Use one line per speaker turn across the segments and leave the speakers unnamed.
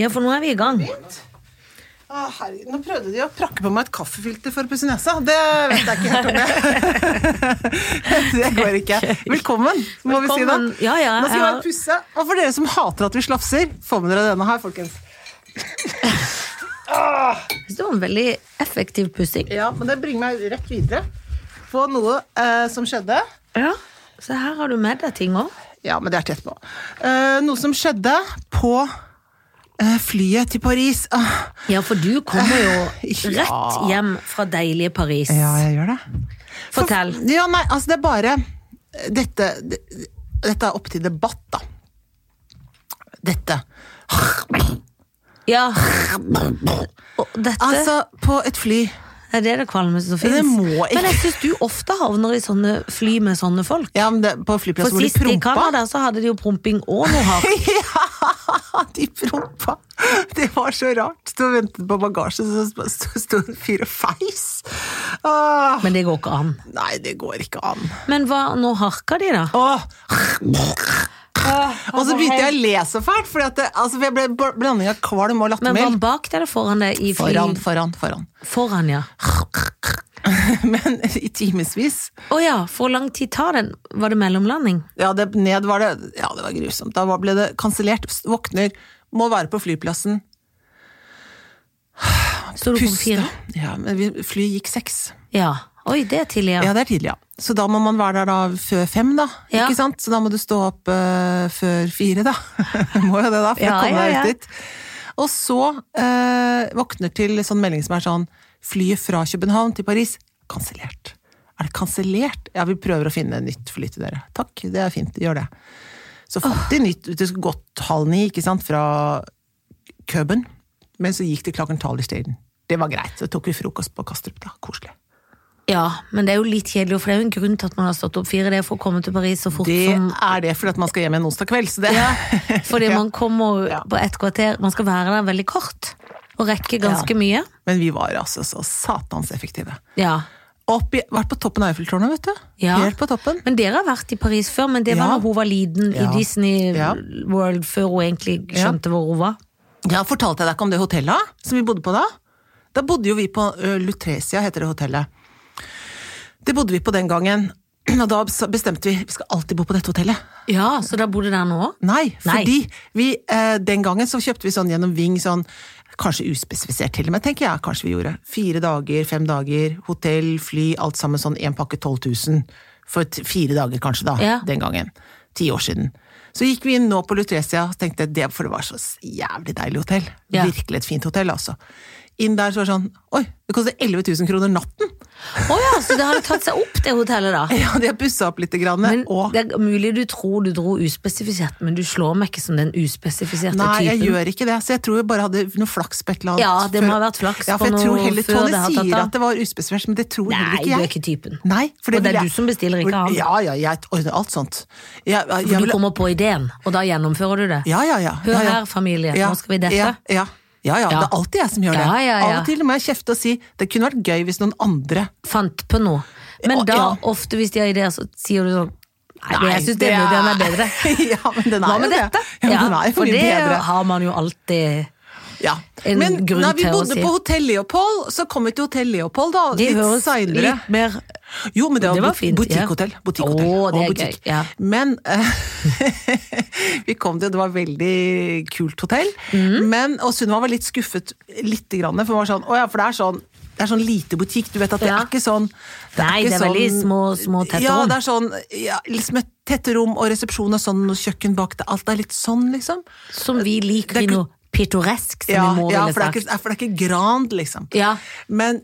Ja, for nå er vi i gang.
Å, herregud, Nå prøvde de å prakke på meg et kaffefilter for å pusse nesa. Det vet jeg ikke helt om jeg Det går ikke. Velkommen, må vi si det.
Velkommen. Ja, ja,
Nå skal
ja.
vi pusse. Og for dere som hater at vi slafser, få med dere denne her, folkens.
Det var en veldig effektiv pussing.
Ja, men det bringer meg rett videre på noe eh, som skjedde.
Ja. Så her har du med deg ting òg.
Ja, men det er tett på. Eh, noe som skjedde på eh, flyet til Paris. Ah,
Ja, for du kommer jo
Ja.
rett hjem fra deilige Paris.
ja, jeg gjør det.
Fortell.
For- Ja, nei, altså det er bare eh, Dette, det, dette er opp til debatt, da. Dette.
Ja. Og dette
Altså, på et fly
er det det kvalmeste som
Det
fins.
må ikke-
Men jeg syns du ofte havner i sånne fly med sånne folk.
Ja, men det, på
For
flyplassen hvor de
sist i
prompa.
Canada så hadde de jo promping og noe hardt.
Ja, de prompa! Det var så rart. Sto og ventet på bagasje, så sto- sto- sto en fyr og feis. Åh,
Men det går ikke an.
nei, det går ikke an.
Men hva, nå harker de, da?
Åh. Og så begynte jeg å le så fælt, for altså, jeg ble bl- blanding av kvalm og
Men var
lattermild.
han bak deg eller foran deg? I fly?
Foran, foran, foran.
Foran, ja.
Men i timevis.
Å ja, for hvor lang tid tar den? Var det mellomlanding?
Ja, det, ned var det Ja, det var grusomt. Da var- ble det kansellert. Våkner, må være på flyplassen.
Sto du på
Puste.
fire?
Ja, men vi- flyet gikk seks.
Ja. Oi, det er tidlig,
Ja,
ja.
det er tidlig, ja. Så da må man være der da før fem, da.
Ja.
Ikke sant? Så da må du stå opp eh, før fire, da. må jo det, da, for
Ja,
å komme
ja,
deg
ja.
ut dit. Og så eh, våkner til sånn melding som er sånn Flyet fra København til Paris kansellert. Er det kansellert? Ja, vi prøver å finne nytt fly til dere. Takk, det er fint. Gjør det. Så fant de nytt Det skulle gått halv ni, ikke sant, fra Køben. Men så gikk det klokken tolv i stedet. Det var greit. Så tok vi frokost på Kastrup, da. Koselig.
Ja, men det er jo litt kjedelig, for det er jo en grunn til at man har stått opp fire. Det er for å komme til Paris så fort
Det
som
er det fordi at man skal hjem igjen onsdag kveld. Så det,
Ja, fordi man kommer
Ja.
på ett kvarter Man skal være der veldig kort, og rekke ganske
Ja.
mye.
Men vi var altså så satans effektive.
Ja.
Opp i, vært på toppen av Eiffeltårnet, vet du.
Ja.
Helt på toppen.
Men dere har vært i Paris før, men det var
Ja.
da hun var liten
Ja.
i Disney
Ja.
World, før hun egentlig skjønte hvor hun var.
Ja, Fortalte jeg deg ikke om det hotellet som vi bodde på da? Da bodde jo vi på ø, Lutrecia, heter det hotellet. Det bodde vi på den gangen. Og da sa- bestemte vi vi skal alltid bo på dette hotellet.
Ja, så da bor du der nå?
Nei,
Nei.
fordi vi, eh, den gangen så kjøpte vi sånn gjennom Ving sånn Kanskje uspesifisert til og med, tenker jeg. Kanskje vi gjorde. Fire dager, fem dager, hotell, fly, alt sammen sånn en pakke 12 000. For t- fire dager kanskje, da.
Ja.
Den gangen. Ti år siden. Så gikk vi inn nå på Lutrecia og tenkte det, for det var så s- jævlig deilig hotell.
Ja.
Virkelig et fint hotell, altså. Inn der så var det sånn Oi, det koster 11 000 kroner natten!
Å ja, så det hadde tatt seg opp, det hotellet, da?
Ja, de har pussa opp lite grann.
Men
og
Det er mulig du tror du dro uspesifisert, men du slår meg ikke som den uspesifiserte
Nei, jeg
typen.
gjør ikke det. Så jeg tror jeg bare hadde noe flaks på et eller annet.
Ja, det må
før-
ha vært flaks
Ja,
på
for jeg
noe
tror heller
før det
Tony
har tatt
sier
av.
at det var uspesifikt, men det tror heller
Nei,
ikke
du
jeg.
er ikke typen.
Nei,
Og
for
det
vil
er
jeg-
du som bestiller, ikke han.
Ja, ja, jeg ordner alt sånt. Jeg, jeg,
For
jeg
du
vil,
kommer på ideen, og da gjennomfører du det.
ja, ja, ja.
Hør
ja, ja.
her, familie,
Ja,
nå skal vi dette.
Ja, ja. Ja, ja,
Ja.
det er alltid jeg som gjør det.
Ja, ja, ja.
Av og til må jeg kjefte og si det kunne vært gøy hvis noen andre
Fant på noe. Men
Ja,
da,
ja.
ofte hvis de har ideer, så sier du sånn Nei, jeg syns denne
det
ideen er bedre.
ja, men den er
Hva med
jo det.
dette?
Ja, men den er jo
for
mye
det
bedre.
har man jo alltid
Ja.
en
Men
grunn
da vi
til å
bodde
si.
på Hotell Leopold, så kom vi til Hotell Leopold da,
De
litt
høres
seinere.
litt mer
Jo, men det var,
Det var
but-
fint, ja.
butikkhotell. butikkhotell.
Å, det
Og
er
butikk.
gøy, ja.
Men eh, vi kom til, det var et veldig kult hotell.
Mhm.
Men, og Sunniva var litt skuffet lite grann, for hun var sånn, å ja, for det er sånn det er sånn lite butikk, du vet at det
Ja.
er ikke sånn er
Nei,
ikke sånn
det er veldig små- små, tette
Ja,
rom.
det er sånn ja, liksom et tette rom og resepsjon og sånn, og kjøkken bak det, alt er litt sånn, liksom.
som vi liker
Det er
i
ikke-
noe pittoresk, som min mor
ja,
ville
for det, er
sagt.
ikke, ja, for det er ikke grand, liksom.
Ja.
Men,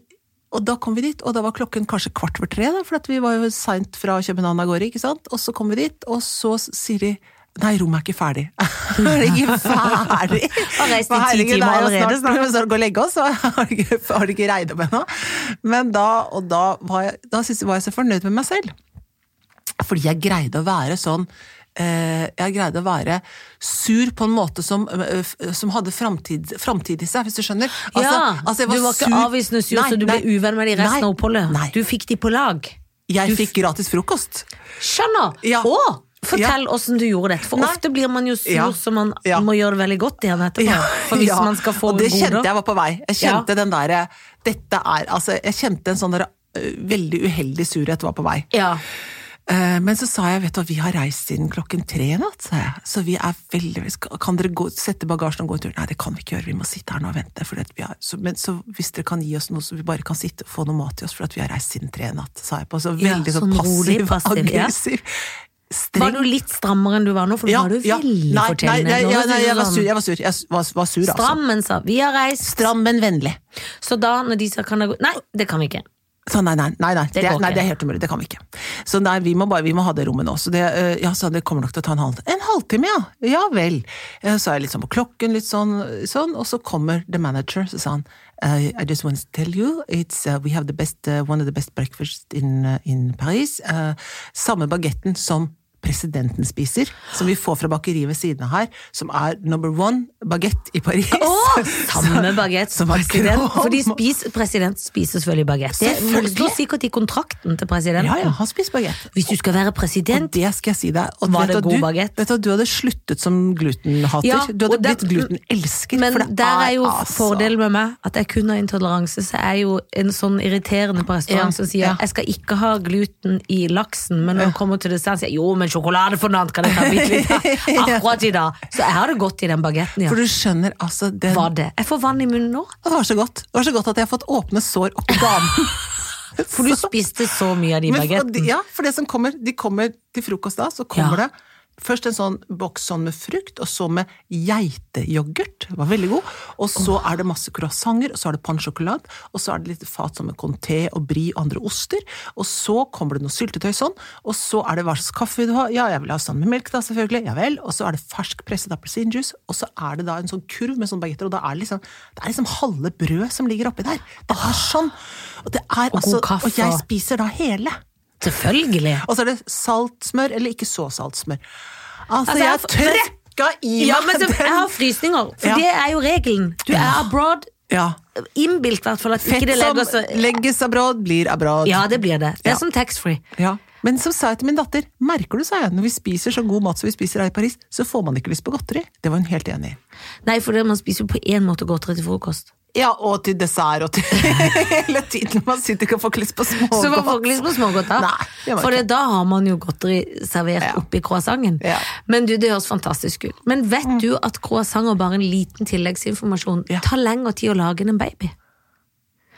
og da kom vi dit, og da var klokken kanskje kvart over tre, da, for at vi var jo seint fra København av gårde. ikke sant? Og så kom vi dit, og så s- sier de Nei, rommet er ikke ferdig. er det ikke ferdig?
Har reist i
Men
ti timer
herregud, det er jo
allerede,
Snart, snart, snart gå og legge oss, og har det ikke, har det ikke regnet opp ennå. Men da, og da var jeg, da synes jeg var jeg så fornøyd med meg selv. Fordi jeg greide å være sånn eh, Jeg greide å være sur på en måte som, eh, f- som hadde framtid, framtid i seg, hvis du skjønner.
ja,
altså- jeg
du var ikke
sur-
avvisende sur,
Nei,
så du ble
nei.
uvenn med de resten
Nei,
av oppholdet.
Nei.
Du fikk de på lag.
jeg
du-
fikk gratis frokost.
Skjønner!
Ja.
Å, Fortell åssen du gjorde dette, for
Nei.
ofte blir man jo sur
Ja.
så man
Ja.
må gjøre det veldig godt igjen etterpå. For hvis
Ja,
man skal få
Og det
goder.
kjente jeg var på vei. Jeg
Ja.
kjente den derre Dette er Altså, jeg kjente en sånn der øh, veldig uheldig surhet var på vei.
Ja.
Eh, Men så sa jeg, vet du hva, vi har reist siden klokken tre i natt, sa jeg. Så vi er veldig skal- Kan dere gå, sette bagasjen og gå en tur? Nei, det kan vi ikke gjøre, vi må sitte her nå og vente. For at vi har, så, men så hvis dere kan gi oss noe så vi bare kan sitte og få noe mat til oss, for at vi har reist siden tre i natt, sa jeg på. Så
Ja,
veldig
sånn
sånn passiv,
rolig, passiv, ja.
aggressiv. Streng.
Var du litt strammere enn du var nå? For nå var du veldig
nei, nei,
fortjenende.
nei,
Nå
ja,
var du
nei, jeg var
sånn
sur, jeg var sur, jeg var, var sur altså.
Stram, men sa 'vi har reist',
Stram, men vennlig.
så da når de sa 'kan det gå' Nei, det kan vi ikke.
Så nei, nei, nei, nei, det,
går
nei,
ikke.
det er helt umulig. Det kan vi ikke. Så nei, vi må, bare, vi må ha det rommet nå. Så det, eh, ja, sa han, det kommer nok til å ta en halvtime. En halvtime, ja! Ja vel. Eh, Så er jeg litt sånn på klokken, litt sånn, sånn og så kommer the manager, så sa han eh, «I- I just want to tell you, it's, eh, we have the best, eh, one of the best breakfasts in, eh, in Paris. Eh, samme bagetten som presidenten spiser, som vi får fra bakeriet ved siden av her, som er number one bagett i Paris.
Å, samme bagett
som
som
er
president.
kram.
For de spis, president spiser selvfølgelig bagett. Det
Selvfølgelig.
står sikkert i kontrakten til presidenten.
Ja, ja, han spiser bagett.
Hvis du skal være
Og
president
det skal jeg si deg. Og
Var
vet
det
du
god
hva, du,
baguette?
Vet du, hva, du hadde sluttet som glutenhater.
Ja,
du hadde
og det-
blitt glutenelsker.
Men
for det
der er jo
altså-
fordelen med meg at jeg kun har intoleranse. Så jeg er jo en sånn irriterende på restaurant
Ja,
som sier
ja.
jeg skal ikke ha gluten i laksen, men når det kommer til dessert, sier jeg jo, men sjokoladefondant kan jeg ta bitte litt av akkurat i dag. Så jeg har det godt i den bagetten, ja.
For du skjønner, altså den,
Var det. Jeg får vann i munnen nå,
Det var så godt. Det var så godt at jeg har fått åpne sår oppi ganen.
for du spiste så mye av de
Men- og de-
bagettene.
Ja, for det som kommer, de kommer til frokost da, så kommer
Ja.
det først en sånn boks sånn med frukt, og så med geiteyoghurt, det var veldig god, og så er det masse croissanter, og så er det panne sjokolade, og så er det litt fat som med conté og brie og andre oster, og så kommer det noe syltetøy sånn, og så er det hva slags kaffe vil du ha, ja, jeg vil ha sånn med melk da, selvfølgelig, ja vel, og så er det fersk presset appelsinjuice, og så er det da en sånn kurv med sånn baguetter, og da er det liksom, det er liksom halve brød som ligger oppi der, det er sånn, og det er
Og
altså,
god kaffe,
og jeg
og-
spiser da hele.
Selvfølgelig.
Og så er det saltsmør eller ikke så saltsmør. Altså,
Altså, jeg
jeg
har-
trøkka i meg
Ja, men så,
den
jeg har frysninger, for
Ja.
det er jo regelen. Du er
Ja.
abroad,
ja.
innbilt i hvert fall, at ikke
Fett
det legger
som
seg
legges abroad, blir abroad.
Ja, det blir det. Det
Ja.
er som taxfree.
Ja. Men som sa jeg til min datter, merker du, sa jeg, når vi spiser så god mat som vi spiser her i Paris, så får man ikke lyst på godteri. Det var hun helt enig i.
Nei, for det, man spiser jo på én måte godteri til frokost.
Ja, og til dessert og til hele tiden. Man sitter ikke og får ikke lyst på smågodt.
Så man får ikke lyst på smågodt da.
Nei, det var
for
ikke.
det, da har man jo godteri servert
Ja.
oppi croissanten.
Ja. Mm.
Men du, det høres fantastisk ut. Men vet du at croissant er bare en liten tilleggsinformasjon
Ja.
tar lengre tid å lage enn en baby?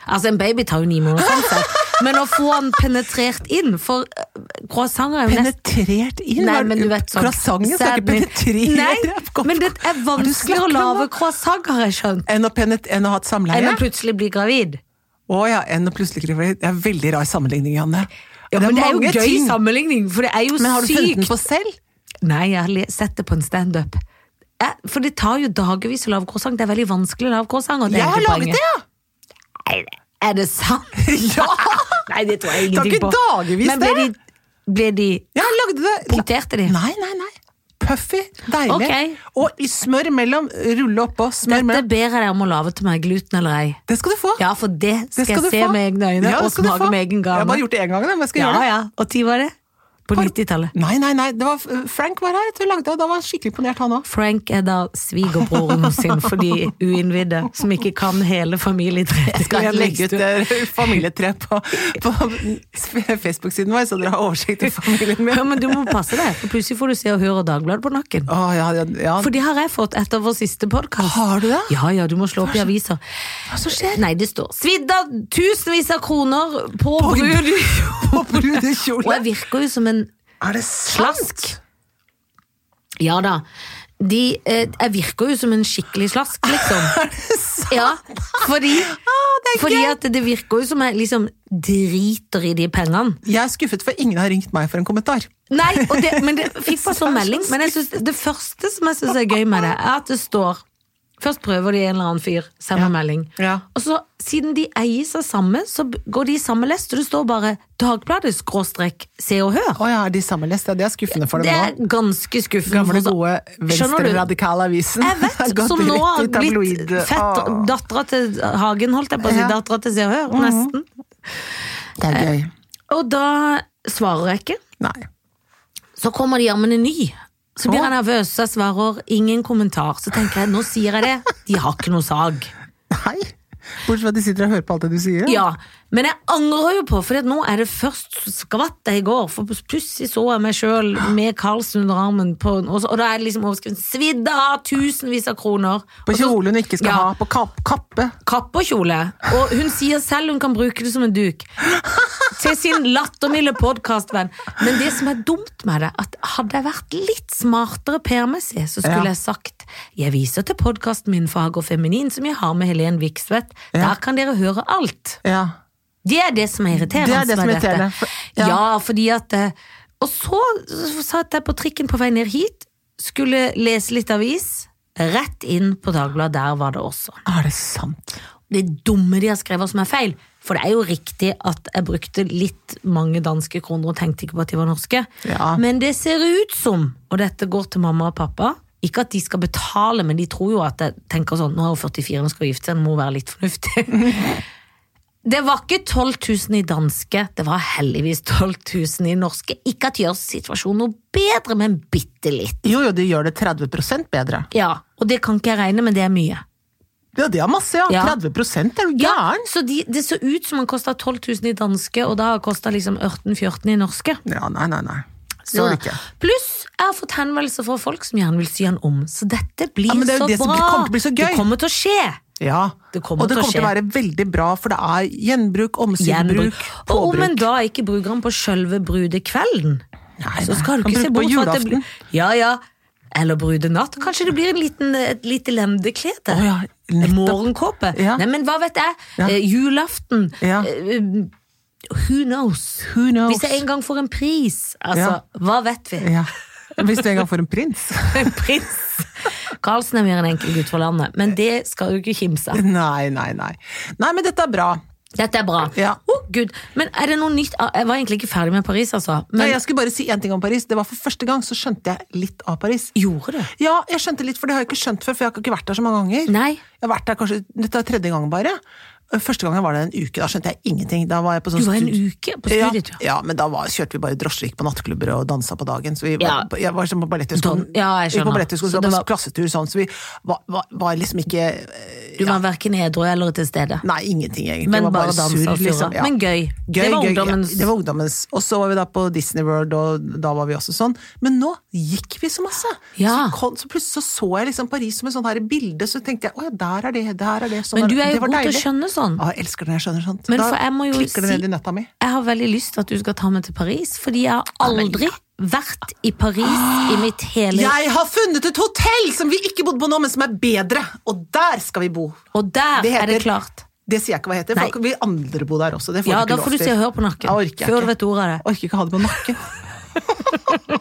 Altså, en baby tar jo ni måneder, sånn sett. Men å få den penetrert inn, for eh, croissant er jo nesten
Penetrert inn?
Nei,
var-
men du vet sånn
Croissanten skal ikke
sædmin-
penetrere
Nei, men det er
Hva du
vanskeligere å
snakker om
lage
nå?
croissant, har jeg skjønt,
Enn å, penet- enn å ha et samleie?
enn å plutselig bli gravid.
Å ja, enn å plutselig ikke bli- Det er veldig rar sammenligning, Janne.
Ja, men det er jo
mange
gøy
ting.
sammenligning, for det er jo
Men har du funnet den
sykt.
på selv?
Nei, jeg har le- sett det på en standup. Eh, For det tar jo dagevis å lage croissant. Det er veldig vanskelig å lage croissant. og det er
Jeg har
egentlig
laget
poenget.
det, ja!
Er det sant?
Ja!
Nei, det tror jeg
Det tar
ingenting
ikke
på.
dagevis,
Men ble de, ble de
Jeg lagde det.
Punkterte de?
Nei, nei, nei. Puffy. Deilig.
Ok.
Og i smør imellom. Rulle oppå, smør
Dette
imellom.
ber jeg deg om å lage til meg, gluten eller ei.
Det skal du få.
Ja, for det skal,
det skal du
jeg se
få.
med egne øyne,
Ja, det
og
skal du
smake
få.
med egen
Jeg har
gave.
bare gjort det én gang, da, men jeg skal
ja,
gjøre det.
ja. Og tid var det? På
Har-
90-tallet.
Nei, nei, nei. Det var Frank var her, jeg tror jeg lagde det, og da var han skikkelig imponert, han òg.
Frank er da svigerbroren sin for de uinnvidde som ikke kan hele familietreet.
Skal
i en
jeg legge ut
lekstue.
eh, familietre på, på Facebook-siden vår, så dere har oversikt over familien
Ja,
min?
men du må passe deg, for plutselig får du se og høre Dagbladet på nakken.
Å, ja, ja, ja.
For det har jeg fått etter vår siste podkast.
Har du det?
Ja, ja, du må slå opp i aviser.
Hva som skjer?
Nei, det står 'svidd av tusenvis av kroner på brud'.
på
Og jeg
brudekjole.
virker jo som en
Er det
slask. Ja da. De, eh, jeg virker jo som en skikkelig slask, liksom.
sant?
Ja, fordi,
det er
fordi at det virker jo som jeg liksom driter i de pengene.
Jeg er skuffet, for ingen har ringt meg for en kommentar.
Nei, og det, men det fikk bare sånn melding. Men jeg synes, det første som jeg syns er gøy med det, er at det står Først prøver de en eller annen fyr, sender melding.
Ja.
Og så, siden de eier seg samme, så b- går de i samme lest, og det står bare Dagbladet skråstrek Se og Hør.
Å ja, er de sammenlest? Ja, det er skuffende for dem
Det er
nå.
ganske skuffende.
Gamle,
for oss. Skjønner
gode
du?
venstreradikale avisen.
Jeg vet,
Gått
som
rett
nå har
i tabloid.
blitt fett,
Å,
dattera til Hagen, holdt jeg på å si.
Ja. Mhm.
Dattera til Se og Hør, nesten.
Det er gøy.
Og da svarer jeg ikke.
Nei.
Så kommer det jammen en ny. Så blir
Å.
jeg nervøs, så jeg svarer ingen kommentar. Så tenker jeg, nå sier jeg det. De har ikke noe sag.
Nei! Bortsett fra at de sitter og hører på alt det du sier.
Ja, Men jeg angrer jo på, for nå er det først skvatt jeg i går. For plutselig så jeg meg sjøl med Karlsen under armen, på, og, så, og da er det liksom overskriften 'Svidd av tusenvis av kroner'. Og
På
så-
kjole hun ikke skal
Ja.
ha, på kap kappe.
kappe og kjole. Og hun sier selv hun kan bruke det som en duk. Til sin lattermilde podkastvenn. Men det som er dumt med det, at hadde jeg vært litt smartere PR-messig, så skulle
Ja.
jeg sagt jeg viser til podkasten min Fag og feminin, som jeg har med Helen Vikstvedt. Der kan dere høre alt.
Ja.
Det er det som er irriterende.
Det er det som
med
er irriterende,
dette.
for-
ja.
ja.
fordi at eh, Og så så satt jeg på trikken på vei ned hit, skulle lese litt avis. Rett inn på Dagbladet, der var det også
Er det sant?
det dumme de har skrevet som er feil. For det er jo riktig at jeg brukte litt mange danske kroner og tenkte ikke på at de var norske.
Ja.
Men det ser ut som, og dette går til mamma og pappa, ikke at de skal betale, men de tror jo at jeg tenker sånn, nå er hun 44 og skal gifte seg, hun må være litt fornuftig. Det var ikke 12 000 i danske, det var heldigvis 12 000 i norske. Ikke at det gjør situasjonen noe bedre, men bitte litt.
Jo, jo, de gjør det 30 bedre.
Ja, og det kan ikke jeg regne med, det er mye.
Ja, det er masse, ja.
Ja.
30 er du
Ja,
gæren?
så de, det så ut som han kosta 12 000 i danske, og da har kosta liksom 14-14 i norske.
Ja, nei, nei, nei. Så er det ikke.
Pluss jeg har fått henvendelser fra folk som gjerne vil sy han om. Så dette blir
Ja, men det er
så
jo det som
bra!
blir- kommer til å bli så gøy.
Det kommer til å skje!
Ja,
Det kommer
og det
til å
kommer til å
skje.
være veldig bra, for det er gjenbruk, omsynbruk,
Gjenbruk. Og om en
påbruk.
da ikke bruker han på sjølve brudekvelden,
Nei,
så skal du
Kan
ikke se
bruke på
bort fra at det
julaften.
blir Ja, ja. Eller brudenatt. Kanskje det blir en liten, et lite lemdeklede.
Å ja,
En
nettopp.
Morgenkåpe.
Ja.
Nei, men hva vet jeg?
Ja.
Eh, julaften.
Ja.
Eh, who knows?
Who knows?
Hvis jeg en gang får en pris, altså, hva vet vi?
Ja. Hvis du en gang får en prins.
En prins! Karlsen er mer en enkel gutt fra landet, men det skal du ikke kimse av.
Nei, nei, nei. Nei, men dette er bra.
Dette er bra.
Ja.
Å, Gud. Men er det noe nytt? Jeg var egentlig ikke ferdig med Paris, altså.
Nei,
Men
jeg skulle bare si én ting om Paris. Det var for første gang så skjønte jeg litt av Paris.
gjorde du?
Ja, jeg skjønte litt, for det har jeg ikke skjønt før, for jeg har ikke vært der så mange ganger.
Nei.
Jeg har vært der kanskje, Dette er tredje gang bare. Første gangen var det en uke, da skjønte jeg ingenting. Da var jeg på sånn
Du var en
studie-
uke på studietur.
Ja, ja, men da var, kjørte vi bare drosjer, gikk på nattklubber og dansa på dagen. Så vi var,
Ja.
på- jeg var sånn på balletthøgskolen.
Don- ja, jeg
Gikk
skjønner.
på
Så
balletthøgskolen,
det
så det var
var-
på klassetur sånn, så vi var, var, var liksom ikke eh,
Du var verken edru eller til stede.
Nei, ingenting egentlig.
Men
det var
bare
bare,
dansa
surr,
og surra.
liksom.
Men gøy. Det var ungdommens-
Ja, det var ungdommens. Og så var vi da på Disney World, og da var vi også sånn. Men nå gikk vi så masse!
Ja.
Så, kom, så plutselig så, så jeg liksom Paris som et sånt her bilde, så tenkte jeg å ja, der er det, der er det. Sånn
Men du
det.
er jo
Det var
god til å
deilig.
skjønne sånn.
Ja, jeg elsker det når jeg skjønner sånt.
Men
da
for jeg må jo
klikker det
si-
ned i nøtta mi.
Jeg har veldig lyst til at du skal ta meg til Paris, fordi jeg har aldri vært i Paris i mitt hele
Jeg har funnet et hotell som vi ikke bodde på nå, men som er bedre! Og der skal vi bo!
Og der
Det heter-
er det klart.
Det sier jeg ikke hva heter,
Nei.
for da vil andre bo der også. Det får
Ja,
du
da
ikke
får du
lov til.
se og høre på nakken.
Jeg orker jeg
Før
ikke.
du vet ordet av det.
Orker ikke ha det på nakken.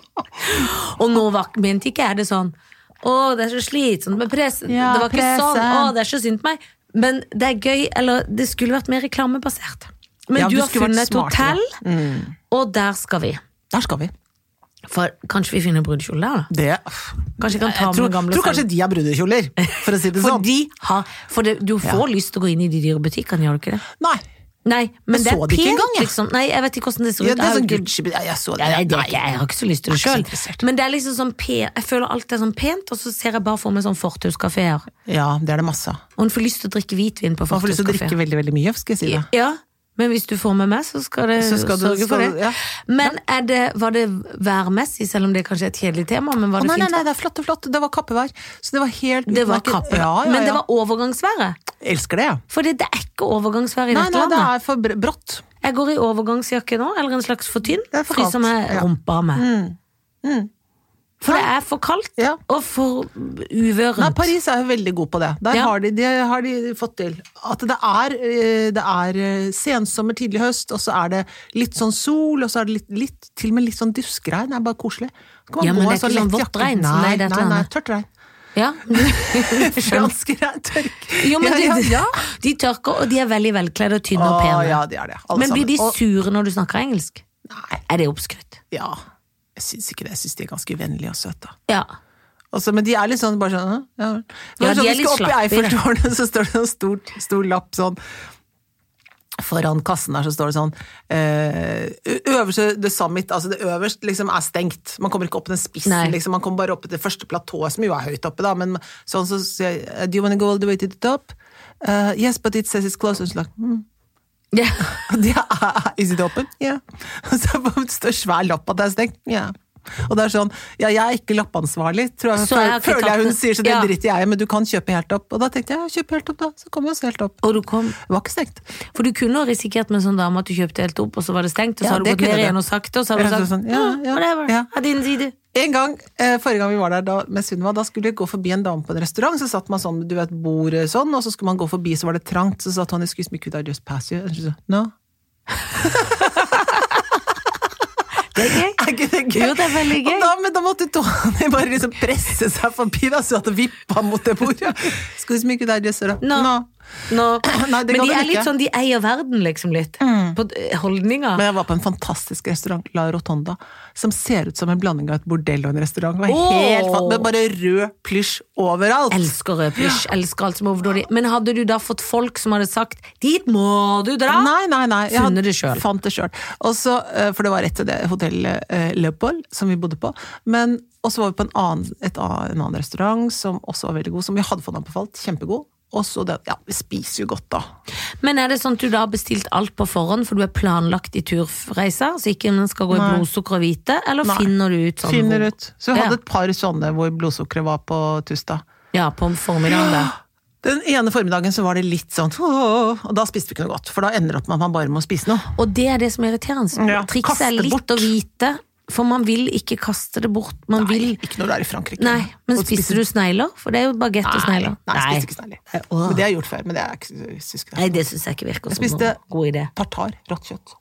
Og nå var- mente ikke jeg det sånn Å, det er så slitsomt med pressen.
Ja,
det var ikke
pressen.
sånn. Å, det er så synd på meg. Men det er gøy, eller det skulle vært mer reklamebasert. Men
Ja, Mm.
du
du
har
skulle vært
funnet et
smartere.
hotell, og der skal vi.
Der skal vi.
For kanskje vi finner brudekjole der, da?
Det
Kanskje jeg kan ta med
Jeg tror,
gamle
tror
selv.
kanskje de er brudekjoler, for å si det
For,
sånn.
de har, for det, du får lyst til å gå inn i de dyre butikkene, gjør du ikke det?
Nei.
Nei, men
Jeg
det er
så det ikke
pent,
engang, jeg.
liksom. Nei, jeg vet ikke hvordan det ser ut.
Ja, det
Jeg
er
har
sånn
ikke-
Gucci ja, Jeg så det.
Ja, nei, det er
Nei.
ikke, jeg har ikke så lyst til det
Jeg er ikke så
sjøl.
interessert.
Men det er liksom sånn pe- jeg føler alt er sånn pent, og så ser jeg bare for meg sånn fortauskafeer.
Ja, det er det masse av.
Og en får lyst til å drikke hvitvin på
Man får lyst til å drikke
fortauskafeer.
veldig veldig mye, skal jeg si det.
Ja, men hvis du får med meg, så skal det
Så skal du-
sørge for
skal-
det.
ja.
Men er det, var det værmessig, selv om det kanskje er et kjedelig tema, men var
Å,
det
nei, nei,
fint?
nei, det er flott og flott. Det var kappevær. Så det var helt
Det var
utmerket.
kappevær.
Ja, ja,
Men det
ja.
var overgangsværet.
Elsker det, ja.
For det det er ikke overgangsvær i
Nei,
dette
nei, det
landet.
er for br- brått.
Jeg går i overgangsjakke nå, eller en slags for tynn.
Det er for
fordi
kaldt,
som jeg
ja. Mm.
rumpa med. For det er for kaldt,
Ja.
og for uvørent.
Nei, Paris er jo veldig god på det. Der
Ja.
har, de, det har de fått til. At det er, eh, det er eh, sensommer, tidlig høst, og så er det litt sånn sol, og så er det litt, litt til og med litt sånn duskregn. Det er bare koselig. Så kan man
Ja,
gå
men
i
det er
sånn
ikke sånn
lett
vått
jakke.
regn som
Nei,
det er i dette
nei, nei,
landet.
tørt regn.
Ja.
Fransk regn, tørk.
Jo, men
ja,
de,
ja, ja.
de tørker, og de er veldig velkledd og tynne og
Å,
pene.
ja, de er det. Alle
men blir de
sammen. Og-
sure når du snakker engelsk?
Nei,
Er det oppskrytt?
ja. Jeg syns ikke det. Jeg syns de er ganske vennlige og søte.
Ja.
Også, men de er litt sånn bare sånn «Hæ? Ja, Det var
Ja, de
sånn,
er
vi
litt
skal opp i
slappe, ja.
Eiffeltårnet, så står det en stor, stor lapp sånn Foran kassen der så står det sånn eh, ø- Øverste the summit, altså det øverst liksom er stengt. Man kommer ikke opp den
Nei.
spissen, liksom. Man kommer bare opp til det første platået, som jo er høyt oppe, da. Men sånn så sier jeg Do you wanna go all the way to the top? «Eh, yes, but it says it's closed. Og så like, «Hmm,
Ja.
det er, is it open? Ja. Og så bare står svær lapp at det er stengt. Ja. Og det er sånn, ja, jeg er ikke lappansvarlig, tror jeg,
Så jeg har ikke
føler
tatt
jeg hun
den.
sier, så det
Ja.
driter jeg i, men du kan kjøpe helt opp. Og da tenkte jeg, kjøp helt opp da, så kom vi oss helt opp.
Og du kom
Det var ikke stengt.
For du kunne jo risikert med en sånn dame at du kjøpte helt opp, og så var det stengt, og så
Ja,
har du
det
gått
kunne
ned
det.
igjen og sagt det, og så har du
Ja,
sagt
sånn, ja,
«Mm,
ja,
whatever,
ja.
av din side.
En gang, eh, forrige gang vi var der da, med Sunniva, da skulle jeg gå forbi en dame på en restaurant, så satt man sånn, du vet, bord eh, sånn, og så skulle man gå forbi, så var det trangt, så satt han, excuse me, could I just pass you? Og så sa jeg, No.
Det er gøy.
Er ikke det gøy?
Jo, det er veldig gøy.
Og Da, men da måtte Tony bare liksom presse seg forbi, da, så at det vippa mot det bordet. Excuse me, could I just sort of-
No.
No.
Nå,
Nei, det
men
kan
de
de
er litt
ikke.
sånn, de eier verden, liksom, litt. På eh, holdninger.
Men jeg var på en fantastisk restaurant, La Rotonda, som ser ut som en blanding av et bordell og en restaurant. Det var
Åh!
helt fatt, med bare rød plysj overalt.
Elsker rød pysj, elsker alt som er overdådig. Men hadde du da fått folk som hadde sagt 'dit må du dra'?
Nei, nei, nei. Jeg
Funnet
hadde-
det selv.
Fant det sjøl. eh, For det var rett til det hotellet eh, Leopold som vi bodde på. Men, og så var vi på en annen, et, ann- en annen restaurant som også var veldig god, som vi hadde fått anbefalt. Kjempegod. Og så det Ja, vi spiser jo godt, da.
Men er det sånn at du da har bestilt alt på forhånd, for du er planlagt i turreiser, så ikke man skal gå i
Nei.
blodsukker og hvite, eller
Nei.
finner du ut sånn?
Finner ut. Så vi
Ja.
hadde et par sånne hvor blodsukkeret var på Tusta.
Ja, på formiddagen der.
Den ene formiddagen så var det litt sånn «Åh», Og da spiste vi ikke noe godt, for da ender det opp med at man bare må spise noe.
Og det er det som er irriterende.
Ja,
Trikset
kaste
er litt
bort.
å vite, for man vil ikke kaste det bort. Man vil
Ikke når du er i Frankrike.
Nei, men
Og
spiser du snegler? For det er jo bagett og
Nei,
snegler.
nei, jeg spiser ikke snegler.
Åh.
Men det har jeg gjort før. Men det er ikke, jeg synes ikke det.
Nei, det syns jeg ikke virker som
spiste-
noen god idé.
Tartar, rått kjøtt.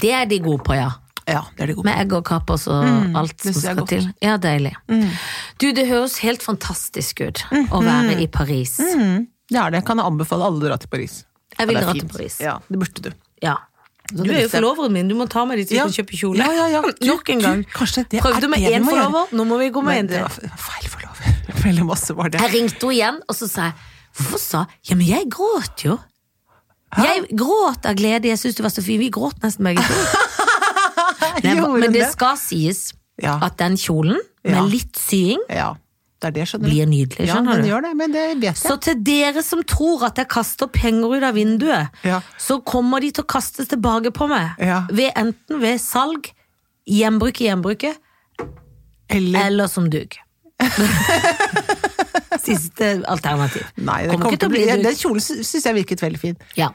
Det er de gode på, ja.
Ja, det er det gode.
Med egg og kapers og alt
Mm, det
som
synes jeg er
skal
godt. Mm.
til. Ja, deilig. Du, det høres helt fantastisk ut å være
mm.
i Paris.
Det er det. Kan jeg anbefale alle å dra til Paris.
Jeg vil
Ja, det er
dra til
fint.
Paris.
Ja, det burde du.
Ja. Du er jo forloveren min, du må ta med de til
Ja.
å kjøpe kjole.
Ja, ja, ja.
Nok en gang.
Du, kanskje det er
Prøvde med
det vi
én
må gjøre.
forlover, nå må vi gå med
Men
en
det
til.
var f- feil forlover. Veldig masse var det.
Jeg ringte henne igjen, og så sa jeg Hvorfor sa Ja, men jeg gråt jo. Jeg gråt av glede. Jeg syns du var så fin. Vi gråt nesten begge to. Nei,
Gjorde
men
hun
det skal sies
Ja.
at den kjolen,
Ja.
med litt sying,
Ja, det er det, skjønner du.
blir nydelig.
Ja,
Skjønner
den
du?
gjør det, men det vet jeg.
Så til dere som tror at jeg kaster penger ut av vinduet,
Ja.
så kommer de til å kastes tilbake på meg.
Ja.
Ved enten ved salg, gjenbruk i gjenbruket,
Eller
eller som dug. Siste alternativ.
Nei, det kommer til å bli,
dug.
den kjolen sy- syns jeg virket veldig fin.
Ja.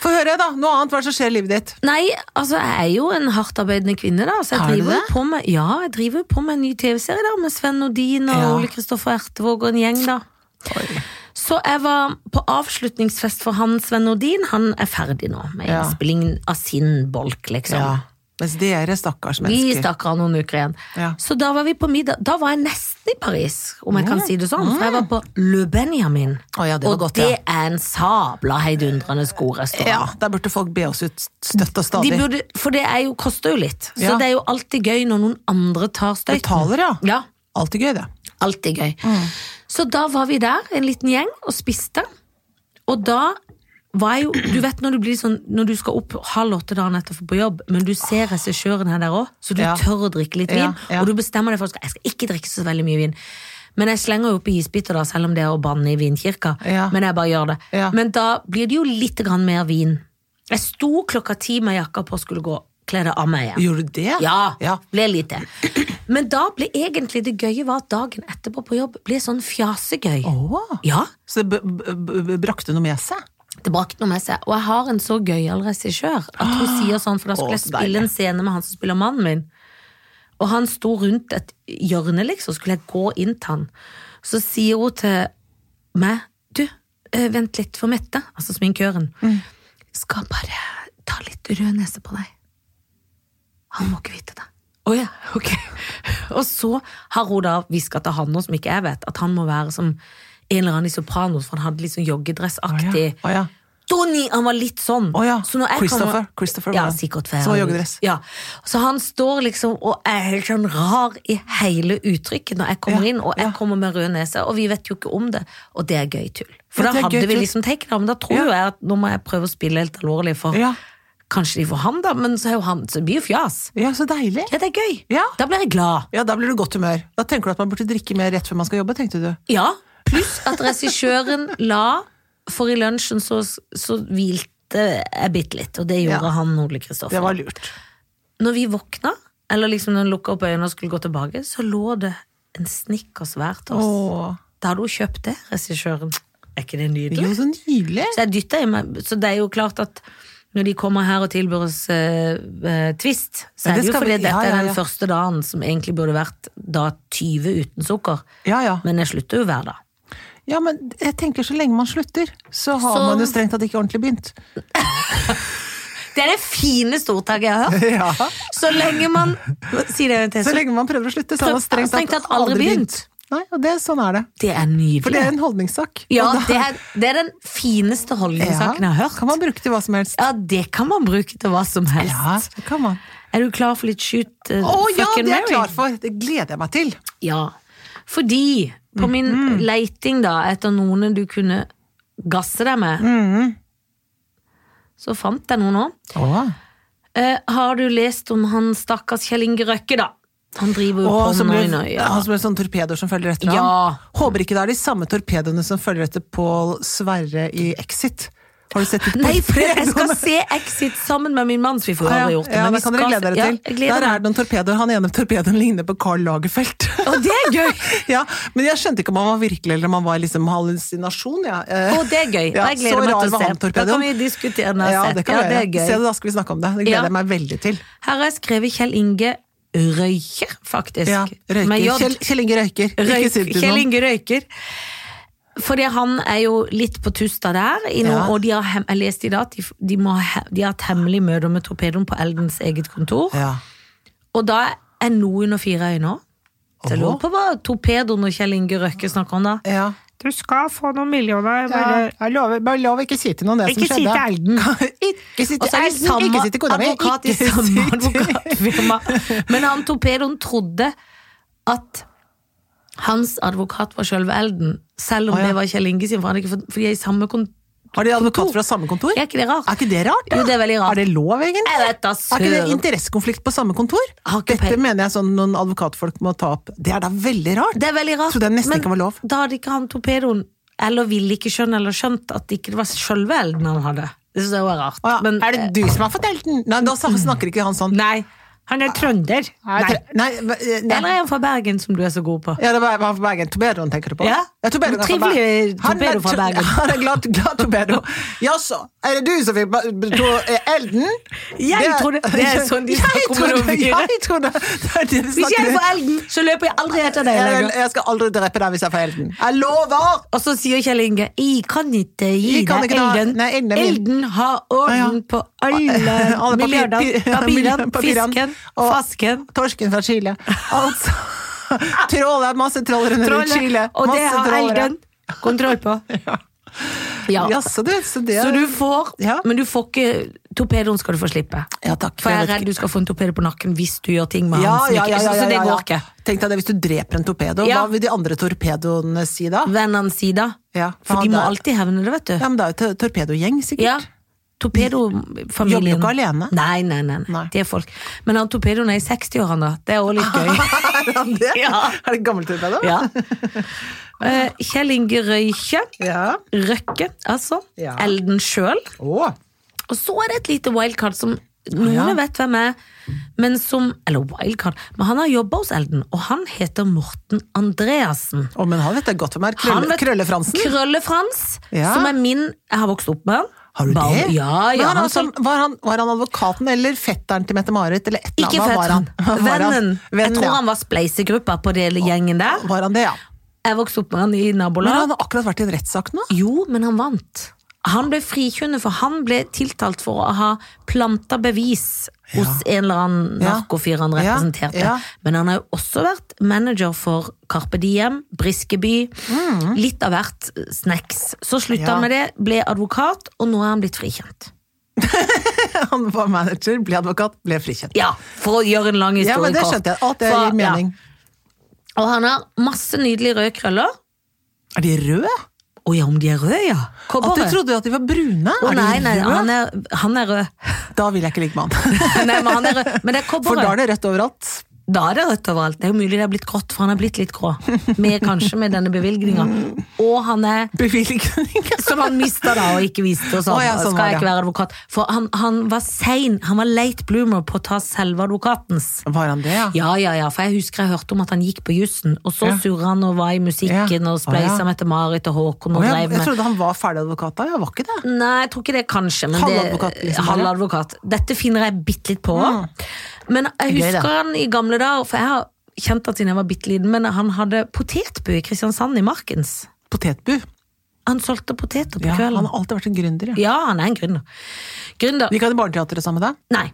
Få høre, da. Noe annet. Hva er det som skjer i livet ditt?
Nei, altså jeg er jo en hardtarbeidende kvinne, da. Så jeg
Er du
driver jo
det?
på med, ja, jeg driver jo på med en ny TV-serie der med Sven Nordin og
Ja.
Ole Kristoffer Ertevåg og en gjeng, da. Så jeg var på avslutningsfest for han Sven Nordin. Han er ferdig nå med
Ja.
innspillingen av sin bolk, liksom.
Ja. Mens dere, stakkars
Vi
mennesker
stakk av noen uker igjen.
Ja.
Så da var vi på middag. Da var jeg nesten i Paris, om jeg kan si det sånn. For jeg var på Le Benjamin.
Å ja, det var
og
godt, ja.
det er en sabla heidundrende skorestaurant.
Ja, der burde folk be oss ut støtt og
De
stadig.
burde, for det er jo, koster jo litt. Så
Ja.
det er jo alltid gøy når noen andre tar støyten.
Betaler, ja.
Ja,
Alltid gøy, det.
alltid gøy.
Mm.
Så da var vi der, en liten gjeng, og spiste. Og da var jeg jo Du vet når du blir sånn Når du skal opp halv åtte dagen etterpå på jobb, men du ser regissøren her der òg, så du
Ja.
tør å drikke litt vin.
Ja, ja.
Og du bestemmer deg for at jeg skal ikke drikke så veldig mye vin. Men jeg slenger jo opp i isbiter, da, selv om det er å banne i vinkirka.
Ja.
Men jeg bare gjør det.
Ja.
Men da blir det jo litt grann mer vin. Jeg sto klokka ti med jakka på og skulle gå, kle det av meg igjen.
Gjorde du det?
Ja,
ja.
ble lite. Men da ble egentlig det gøye var at dagen etterpå på jobb ble sånn fjasegøy.
Åh.
Ja,
Så det b- b- b- brakte noe med seg?
det brakte noe med seg. Og jeg har en så gøyal regissør at hun sier sånn, for da
Å,
skulle jeg
så
spille en scene med han som spiller mannen min. Og han sto rundt et hjørne, liksom, skulle jeg gå inn til han. Så sier hun til meg, du, eh, vent litt for Mette, altså sminkøren. Skal bare ta litt rød nese på deg. Han må ikke vite det. Å ja, ok. Og så har hun da hviska til han nå, som ikke jeg vet, at han må være som en eller annen i Sopranos, for han hadde litt sånn joggedressaktig
Å ja.
Donny! Han var litt sånn.
Å ja.
Så når jeg
Christopher.
kommer-
Christopher var
ja,
han.
sikkert for jeg
Som var
har-
joggedress.
Ja. Så han står liksom og er helt sånn rar i hele uttrykket når jeg kommer
Ja,
inn, og jeg kommer med rød nese, og vi vet jo ikke om det, og det er gøy tull. For
Ja,
da
det er
hadde
gøy
vi
tull.
liksom taken av, men da tror
Ja.
jo jeg at nå må jeg prøve å spille helt alvorlig, for
Ja.
kanskje de får han da, men så er jo han, så det blir jo fjas.
Ja, så deilig.
Ja, det er gøy.
Ja.
Da blir jeg glad.
Ja, da blir du godt humør. Da tenker du at man burde drikke mer rett før man skal jobbe, tenkte du.
Ja, pluss at regissøren la For i lunsjen så, så hvilte jeg bitte litt, og det gjorde
Ja.
han Ole
Det
Kristoffer.
var lurt.
Når vi våkna, eller liksom når han lukka opp øynene og skulle gå tilbake, så lå det en snickers hver til oss.
Åh.
Da hadde hun kjøpt det, regissøren. Er ikke det nydelig?
Jo, så nydelig.
Så jeg dytta i meg. Så det er jo klart at når de kommer her og tilbyr oss eh, eh, Twist, så
Ja,
er
det
det jo
skal
fordi
vi-
dette
ja, ja,
er
ja.
den første dagen som egentlig burde vært da 20 uten sukker.
Ja, ja.
Men jeg slutter jo hver dag.
Ja, men jeg tenker så lenge man slutter, så har
Så-
man jo strengt tatt ikke ordentlig begynt.
Det er det fineste ordtaket jeg har hørt.
Ja.
Så lenge man Si det en til.
Så lenge man prøver å slutte, så har man strengt
Strengt
tatt
tatt aldri begynt.
Nei, og det, sånn er det.
Det er
For det
nydelig.
er en holdningssak.
Ja,
Og da-
det er, det er den fineste holdningssaken jeg har hørt.
Kan man bruke til hva som helst.
Ja, det kan man bruke til hva som helst.
Ja, det kan man.
Er du klar for litt shoot uh,
Å ja,
fucking
det er jeg
Mary?
klar for! Det gleder jeg meg til.
Ja. Fordi på
Mm-hmm.
min leiting da etter noen du kunne gasse deg med,
Mm-hmm.
så fant jeg noen òg.
Åh.
Eh, har du lest om han stakkars Kjell Inge Røkke, da? Han driver jo
Og
på
som
med
ble,
noe, ja.
Han som ble sånne torpedoer som følger etter
Ja.
ham. Håper ikke det er de samme torpedoene som følger etter Pål Sverre i Exit. Har du sett de
Nei, for jeg skal
torpedoene?
se Exit sammen med min mann, så vi får
Ah, ja,
aldri
ja,
gjort det.
ja,
men
det
vi
kan dere
skal
glede
se-
dere
ja,
til.
jeg gleder
Der
meg.
er det noen torpedoer. Han ene torpedoen ligner på Carl Lagerfeldt.
Og det er gøy!
ja, men jeg skjønte ikke om han var virkelig eller om han var liksom hallusinasjon. Ja. Eh,
Og det er gøy.
ja,
og jeg gleder
så
meg
rar
til å
var
se.
han,
Da
torpedoen.
kan vi diskutere den.
Ja, det kan vi
ja, det er
gjøre. Se
gøy.
det, da skal vi snakke om det. Det gleder
Ja.
jeg meg veldig til.
Her har jeg skrevet Kjell Inge Røyker, faktisk.
Ja,
Med
røyker.
J.
Kjell, Kjell Inge røyker. Ikke
Røyk,
si det til
Kjell
noen.
Inge Røyker. Fordi han er jo litt på tusta der, i noen,
Ja.
og de har, hem- jeg leste i dag at de, de, må ha, he- de har hatt hemmelig møte med torpedoen på Eldens eget kontor.
Ja.
Og da er noe under fire øyne òg. Så jeg
Åhå.
lurer på hva torpedoen og Kjell Inge Røkke snakker om da.
Ja.
Du skal få noen millioner.
jeg lover, bare lov ikke si til noen det
Ikke si til Elden.
ikke si
Mm. Og så er de samme advokat i samme advokatfirma. Men han torpedoen trodde at hans advokat var sjølve Elden, selv om
Å, ja.
det var Kjell Inge sin, for, han hadde ikke fått- for de er i samme kon...
Har de advokat fra samme kontor?
Er ikke det rart?
Er ikke det rart? da?
Jo, det er veldig rart.
Er det lov, egentlig?
Jeg vet da
Er ikke det
søren. Ah,
interessekonflikt på samme kontor?
Har ikke
Dette
peil-
mener jeg sånn noen advokatfolk må ta opp. Det er da veldig rart!
Det er veldig rart.
Trodde jeg nesten
men
ikke var lov.
Da hadde ikke han torpedoen, eller ville ikke skjønne eller skjønt at det ikke var sjølve Elden han hadde. Det syns jeg også er rart.
Å ja,
Men, eh,
er det du som har fortalt den? Nei, da snakker ikke han sånn.
Nei, han er trønder.
Nei, nei, eh, nei.
Eller er han fra Bergen, som du er så god på?
Ja, det var var fra Bergen. Torpedoen tenker du på?
Ja.
Torpedoen er fra
Trivelig
Bergen. Han er
torpedo fra
tr-
Bergen.
Han er glad, glad torpedo. Jaså, er det du som fikk ba- b- to- eh, elden?
Jeg trodde- det er sånn de
Jeg
snakker om
trodde-
noen fyre.
Jeg trodde det er det de
Hvis jeg
snakker
er
om.
fra Elden, så løper jeg aldri etter deg.
Jeg,
lenger.
jeg skal aldri drepe deg hvis jeg får elden. Jeg lover!
Og så sier Kjell Inge Jeg kan ikke gi
Jeg kan
deg
ikke ta-
elden.
Nei, elden er min.
elden har orden
Ja, ja.
på alle
Alle papir-
milliardene.
pi- ja,
Papirene,
papirene.
fisken,
Og-
fasken.
Torsken fra Chile. Altså Troll, det er masse trollere nede i
trollet,
Chile.
Og det
Masse
har
trollere.
elden kontroll på. Ja.
Jaså, du. Så det
Så du får,
Ja.
men du får ikke torpedoen skal du få slippe.
Ja, takk.
For jeg
Jeg
er
vet
redd du skal få en torpedo på nakken hvis du gjør ting med
ja,
han som
ja,
ikke
ja, ja,
Så
ja,
det
ja,
går ikke.
Tenk deg det hvis du dreper en torpedo.
Ja.
Hva vil de andre torpedoene si da?
Vennene sier da.
Ja, for
For de
han
må
der-
alltid hevne det, vet du.
Ja, men det er jo tor- torpedogjeng, sikkert.
Ja. Torpedofamilien.
Jobber jo ikke alene.
Nei, nei, nei. nei.
Nei.
De er folk. Men han torpedoen er i 60-årene, da. Det er òg litt gøy.
er han det?
Ja.
Er det gammel torpedo?
ja. Eh, Kjell Inge Røyke.
Ja.
Røkke, altså.
Ja.
Elden sjøl.
Å,
Og så er det et lite wildcard som noen
Ja.
vet hvem er, men som Eller wildcard, men han har jobba hos Elden, og han heter Morten Andreassen.
Å, men han vet det godt hvem er.
Han
Krølle,
vet-
Krøllefransen.
Krølle-Frans,
Ja.
som er min Jeg har vokst opp med han.
Har du
Barn-
det?
Ja,
Men
ja.
han, er
Han
altså- var, han, var han advokaten eller fetteren til Mette-Marit? Eller et eller
Ikke
annet? Hva var
født han.
Hva var han?
Vennen. Jeg
Vennen,
tror
ja.
han var spleisegruppa på det gjengen der.
Var han det, ja.
Jeg vokste opp med han i
Men
nabolag.
han har akkurat vært i en rettssak nå.
Jo, men han vant. Han ble frikjønnet, for han ble tiltalt for å ha planta bevis hos en eller annen
Ja.
narkofyr han
Ja.
representerte.
Ja.
Men han har jo også vært manager for Carpe Diem, Briskeby, litt av hvert eh, snacks. Så slutta
Mm. Ja.
han med det, ble advokat, og nå er han blitt frikjent.
Han var manager, ble advokat, ble frikjent.
Ja, for å gjøre en lang
Ja,
historie
men det
kort.
skjønte jeg. Alt det
For-
gir mening.
Ja. Og han har masse nydelige røde krøller.
Er de røde?
Å ja, om de er røde, ja.
At du
Kobberrøde.
trodde at de var brune?
Å
er de
nei, nei,
røde?
han er, han er rød.
Da vil jeg ikke ligge med han.
nei, men han er rød. Men det er
For da
kobberrød.
er det rødt overalt.
Da er det rødt overalt. Det er jo mulig det er blitt grått, for han er blitt litt grå. Med, kanskje med denne bevilgninga. Og han er
Bevilgning.
Som han mista da, og ikke visste. Og sånn.
Å ja, sånn var
Skal jeg
det.
ikke være advokat? For han, han var sein. Han var late bloomer på å ta selve advokatens.
Var han det, ja?
Ja, ja, ja, for jeg husker jeg hørte om at han gikk på jussen, og så
Ja.
surra han og var i musikken
Ja.
og spleisa
Å, ja.
med til Marit og Håkon og
Å, jeg,
dreiv
jeg
med
trodde han var ferdig advokat da, jeg var ikke det.
Nei, jeg tror ikke det, kanskje. Men
Halvadvokat,
det,
liksom, bare.
halvadvokat. Dette finner jeg bitte litt på. Men jeg
Gøy, det.
husker han i gamle dager, for jeg har kjent han siden jeg var bitte liten, men han hadde potetbu i Kristiansand, i Markens.
Potetbu.
Han solgte poteter på
Ja, han
kvelden.
har alltid vært en gründer, ja.
Ja, han er en gründer. Gründer
Gikk han i barneteatret sammen med deg?
Nei,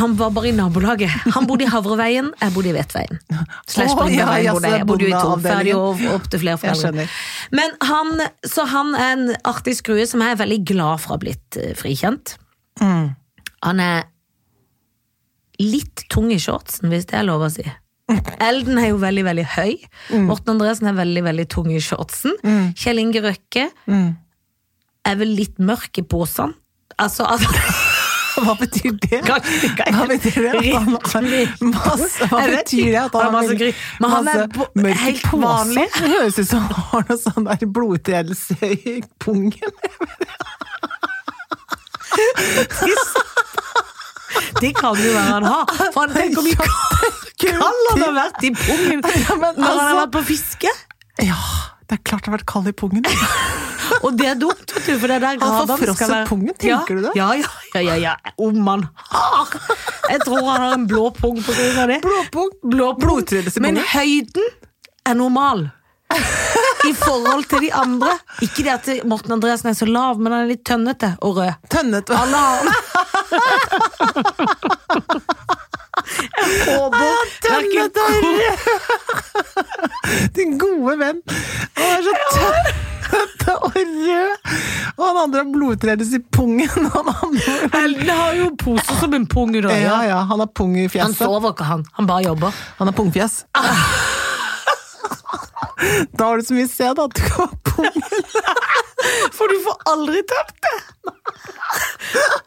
han var bare i nabolaget. Han bodde i Havreveien, jeg bodde i Vetveien. Slash
Å,
Bringeveien
ja,
bodde jeg. Jeg bodde jo i to,
bondeavdelingen.
ferdig og opp til flere
Jeg
foreldre.
skjønner.
Men han, så han er en artig skrue som jeg er veldig glad for har blitt eh, frikjent.
Mm.
Han er litt tung i shortsen, hvis det er lov å si. Elden er jo veldig, veldig høy.
Mm.
Morten Andresen er veldig, veldig tung i shortsen. Kjell Inge Røkke
Mm.
er vel litt mørk i posen. Altså, altså
Hva betyr det?
Kanskje ikke.
Hva betyr det? At han har masse, hva
Jeg vet
betyr
ikke.
det? At
Han
han
har masse
veldig-
gry- Men han er
masse
bo-
mørk
helt
pose?
vanlig.
Det høres ut som han har noe sånn der blodutredelse i pungen.
Det kan jo være han har. For han tenker mye kald han har vært i pungen
Ja, men
når han har
altså-
vært på fiske.
Ja, det er klart det har vært kald i pungen.
Og det er dumt, vet du, for det er der
Han får
gradene skal
frosset
være-
pungen, tenker
ja,
du det?
Ja, ja, ja, ja, ja. Om han har! Jeg tror han har en blå pung på grunn av det.
Blåpung.
Blå pung.
Blodtredelse i
Men
pungen.
høyden er normal. I forhold til de andre. Ikke det at Morten Andreassen er så lav, men han er litt tønnete og rød.
Tønnet.
Alle har den. Håper
Tønnet
hverken
og rød! Din gode venn. Han er så tønnet og rød. Og han andre har blodutredelse i pungen. Han andre
Ellen har jo pose som en pung under øya.
Ja, ja, han har pung i
Han
fjeset.
sover ikke, han. Han bare jobber.
Han har pungfjes. Da har du så mye sæd at du kan ha pung.
For du får aldri tapt det!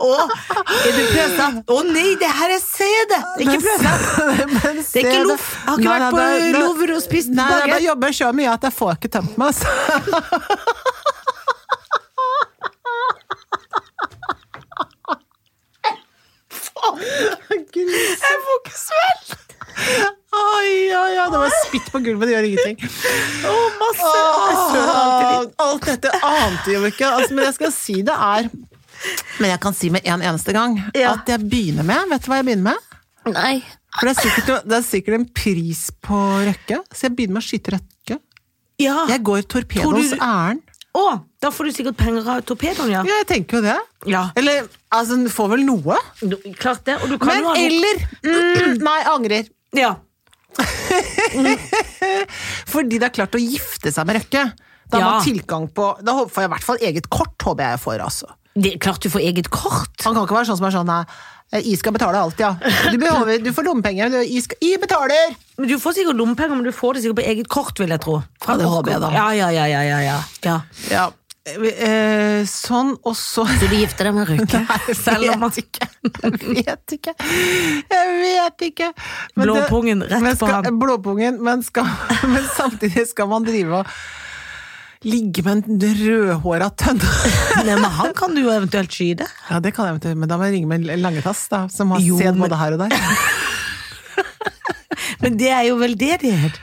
Å, er det pløsnatt? Å nei, det her er CD! Det er ikke pløsnatt. er
Det
ikke loff. Jeg har ikke vært på Lover og spist
Nei, nei, da
baguette.
jobber jeg så mye at jeg får ikke tømt meg. altså. Så. Grus.
Jeg får ikke svelge!
Oi, oi, oi. Det var spytt på gulvet, det gjør ingenting.
Å, masse! Jeg søler alltid litt.
Åh, Alt dette ante jeg jo ikke. Altså, men jeg skal si det er Men jeg kan si med en eneste gang
Ja.
at jeg begynner med Vet du hva jeg begynner med?
Nei.
For det er sikkert, det er sikkert en pris på Røkke, så jeg begynner med å skyte Røkke.
Ja.
Jeg går torpedos
Tror du-
ærend.
Å, da får du sikkert penger av torpedoen, ja.
Ja, jeg tenker jo det.
Ja.
Eller altså, du får vel noe.
Du- Klart det. Og du kan
Men
jo ha noe-
eller mm, Nei, angrer.
Ja.
Fordi det er klart å gifte seg med Røkke. Da har
Ja.
man tilgang på Da får jeg i hvert fall eget kort, håper jeg jeg får, altså.
Det er klart du får eget kort.
Han kan ikke være sånn som er sånn nei, I skal betale alt, ja. Du, behøver, du får lommepenger, men du- I, skal, I betaler!
Men Du får sikkert lommepenger, men du får det sikkert på eget kort, vil jeg tro. Fra
Ja, det
Orkon.
håper jeg da.
Ja, ja, ja, ja, ja, ja. ja.
Ja. Eh, sånn, og så
Så du gifter deg med Røkke? Selv om han
vet ikke. Jeg vet ikke. Jeg vet ikke. det-
Blåpungen rett
men
på
skal,
han.
Blåpungen, men, skal, men samtidig skal man drive og ligge med en rødhåra tønne.
Nei, men han kan du jo eventuelt skyte.
Ja, det kan jeg eventuelt, men da må jeg ringe med en Langetass, da, som har
Jo,
sæd
men-
både her og der.
Men det er jo veldedighet.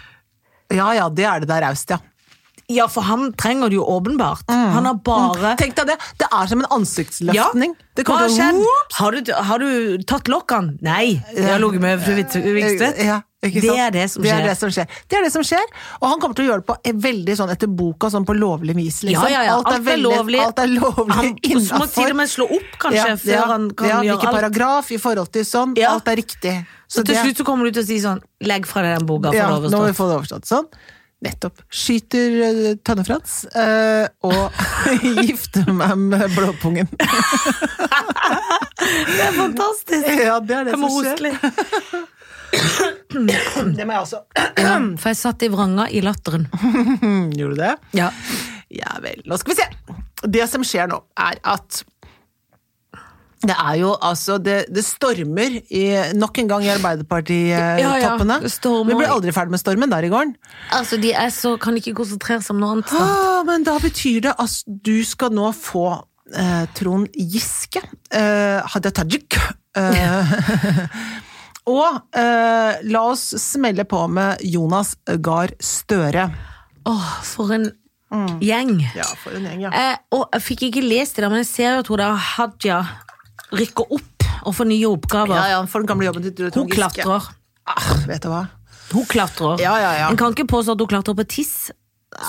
Ja ja, det er det der raust, ja.
Ja, for han trenger det jo åpenbart. Han har bare
Mm. Tenk deg det! Det er som en
ja,
ansiktsløftning.
hva
Det kommer
har
til å-
skjedd? Har du, har du tatt lokkene? Nei, jeg har ligget med Fru Vikstvedt.
Ja, Ikke
Det
sant?
er det som
det
skjer.
er det som skjer. Det er det som skjer, og han kommer til å gjøre det på eh, veldig sånn etter boka, sånn på lovlig vis. Liksom.
Ja, ja, ja.
Alt, er veldig, lovlig. Alt er lovlig
Han må
innenfor.
til og med slå opp, kanskje, før han kan
ja,
gjøre
hvilken
alt.
paragraf i forhold til sånn.
Ja.
Alt er riktig.
Så til
det-
slutt så kommer du til å si sånn Legg fra deg den boka, for
ja,
det
nå må vi
overstått.
få det overstått. Sånn. Nettopp. Skyter eh, Tønne-Frans eh, og gifter meg med blåpungen.
Det er fantastisk!
Ja, det er det
Det må
som skjer.
koselig.
Det må jeg også.
Ja, Sånn, for jeg satt i vranga i latteren.
Mm, Gjorde du det?
Ja.
Ja vel. Nå skal vi se. Det som skjer nå, er at det er jo altså Det, det stormer i, nok en gang i
Ja, ja,
Arbeiderparti-toppene.
det stormer.
vi blir aldri ferdig med stormen der i gården.
Altså, de er så Kan ikke konsentrere seg om noe annet. da.
Ah, men da betyr det at du skal nå få eh, Trond Giske, eh, Hadia Tajik eh, Og eh, la oss smelle på med Jonas Gahr Støre.
Åh, for en gjeng.
Mm. Ja, for en gjeng, ja.
Eh, og jeg fikk ikke lest det, der, men jeg ser jo at hun der Hadia rykker opp og får nye oppgaver.
Ja, ja, for den gamle jobben til Trond
Hun
Giske.
klatrer.
Ah, vet du hva?
Hun klatrer.
Ja, ja, ja.
En kan ikke påstå at hun klatrer på tiss,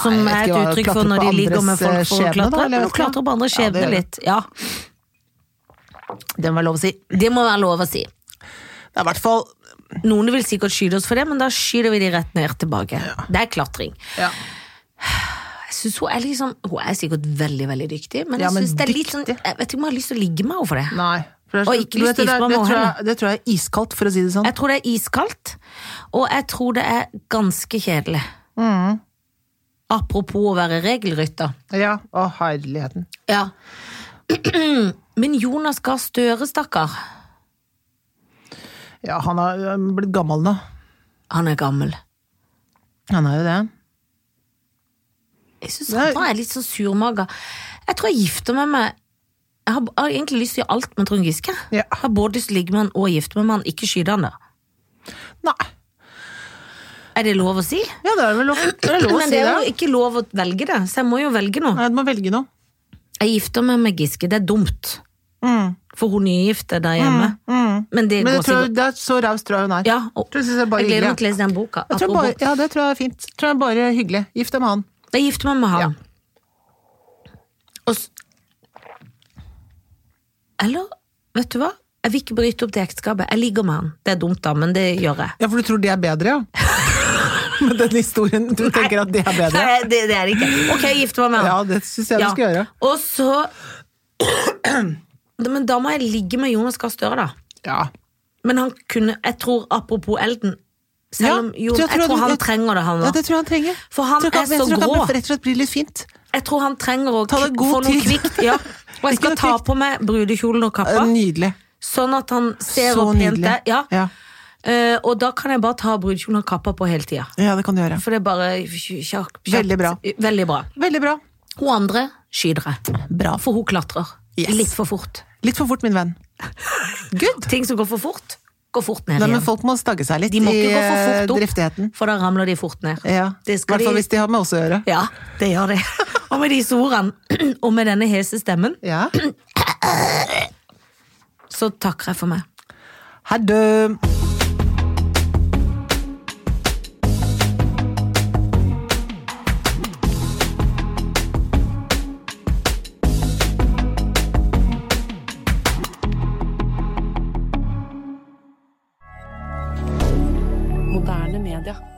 som
Nei, jeg
er et
vet ikke hva,
uttrykk
klatre
for når
på
de ligger med
andres, eh,
folk for å
skjebne, da,
klatre.
eller
Men
vet
hun
ikke.
klatrer på andres
Ja, det
skjebne
gjør det.
litt. Ja,
Det må være lov å si.
Det må være lov å si.
Det er i hvert fall
Noen vil sikkert skyte oss for det, men da skyter vi de rett ned tilbake. Det er klatring.
ja.
Jeg synes hun er liksom Hun er sikkert veldig, veldig dyktig, men
Ja,
jeg
men
synes det er litt sånn
dyktig.
Jeg vet ikke om jeg har lyst til å ligge med henne for det.
Nei. For det,
Og ikke
du vet, det,
justis
der-
på
det,
meg
tror
heller.
jeg, det tror jeg er iskaldt, for å si det sånn.
Jeg tror det er iskaldt, og jeg tror det er ganske kjedelig.
Mm.
Apropos å være regelrytter.
Ja, Å, herligheten.
Ja. Men Jonas Gahr Støre, stakkar.
Ja, han har ø, blitt gammel nå.
Han er gammel.
Han er jo det.
Jeg syns
Nei.
han er litt sånn surmaga. Jeg tror jeg gifter meg med Jeg har, jeg har egentlig lyst til å gjøre alt med Trond Giske.
Ja.
Jeg har både lyst til å ligge med han og gifte meg med han, ikke skyte han, da.
Nei.
Er det lov å si?
Ja, det er vel lov, det er lov å
Men
si
det
det.
er jo ikke lov å velge det, så jeg må jo velge noe.
Nei, du må velge noe.
Jeg gifter meg med Giske, det er dumt.
Mm.
For hun nygifte der hjemme. Men det
Men jeg
går
tror,
sikkert
det er så raus tror jeg hun er.
Ja, og
Tror jeg synes det er bare
jeg gleder
hyggelig.
meg til å lese den boka.
Jeg tror
Apropos-
bare, ja, det tror jeg er fint. Jeg tror jeg bare er hyggelig. Gift deg med han.
Jeg gifter meg med han. Og s- Eller, vet du hva? Jeg vil ikke bryte opp det ekteskapet. Jeg ligger med han. Det er dumt, da, men det gjør jeg.
Ja, for du tror det er bedre, ja? Med den historien. Du tenker at det er bedre?
Nei, det, det er det ikke. Ok, jeg gifter meg med
Ja,
han.
det syns jeg du skal gjøre.
Og så Men da må jeg ligge med Jonas Gahr Støre, da.
Ja.
Men han kunne Jeg tror, apropos Elden Selv
Ja,
om jo, jeg, tror han trenger det, han
Ja,
òg.
det tror jeg han trenger.
For han
Jeg tror ikke-
er så
Jeg tror
grå.
ikke han rett og slett blir litt fint.
Jeg tror han trenger å
Ta
kvi-
deg god
få noe
tid.
kvikt. Ja. Og jeg
Ikke
skal
noe
ta
kvikt.
på meg brudekjolen og kappa.
Eh, Nydelig.
Sånn at han ser
Så
opp pent
nydelig.
der. Ja.
Ja.
Eh, og da kan jeg bare ta brudekjolen og kappa på hele tida.
Ja, det kan du gjøre.
For det er bare kj- kjapt.
Veldig bra.
Veldig bra.
Veldig bra.
Hun andre skyter jeg.
Bra.
For hun klatrer.
Yes.
Litt for fort.
Litt for fort, min venn. Good!
Ting som går for fort, går fort ned
Nei, men
igjen.
folk må stagge seg litt
De må
i
ikke gå for
eh,
fort opp,
driftigheten.
for da ramler de fort ned.
Ja. I
Det skal
hvert fall
de-
hvis de har med oss å gjøre.
Ja, det gjør de. Og med disse ordene, og med denne hese stemmen,
Ja.
så takker jeg for meg.
Her dø!
Moderne media.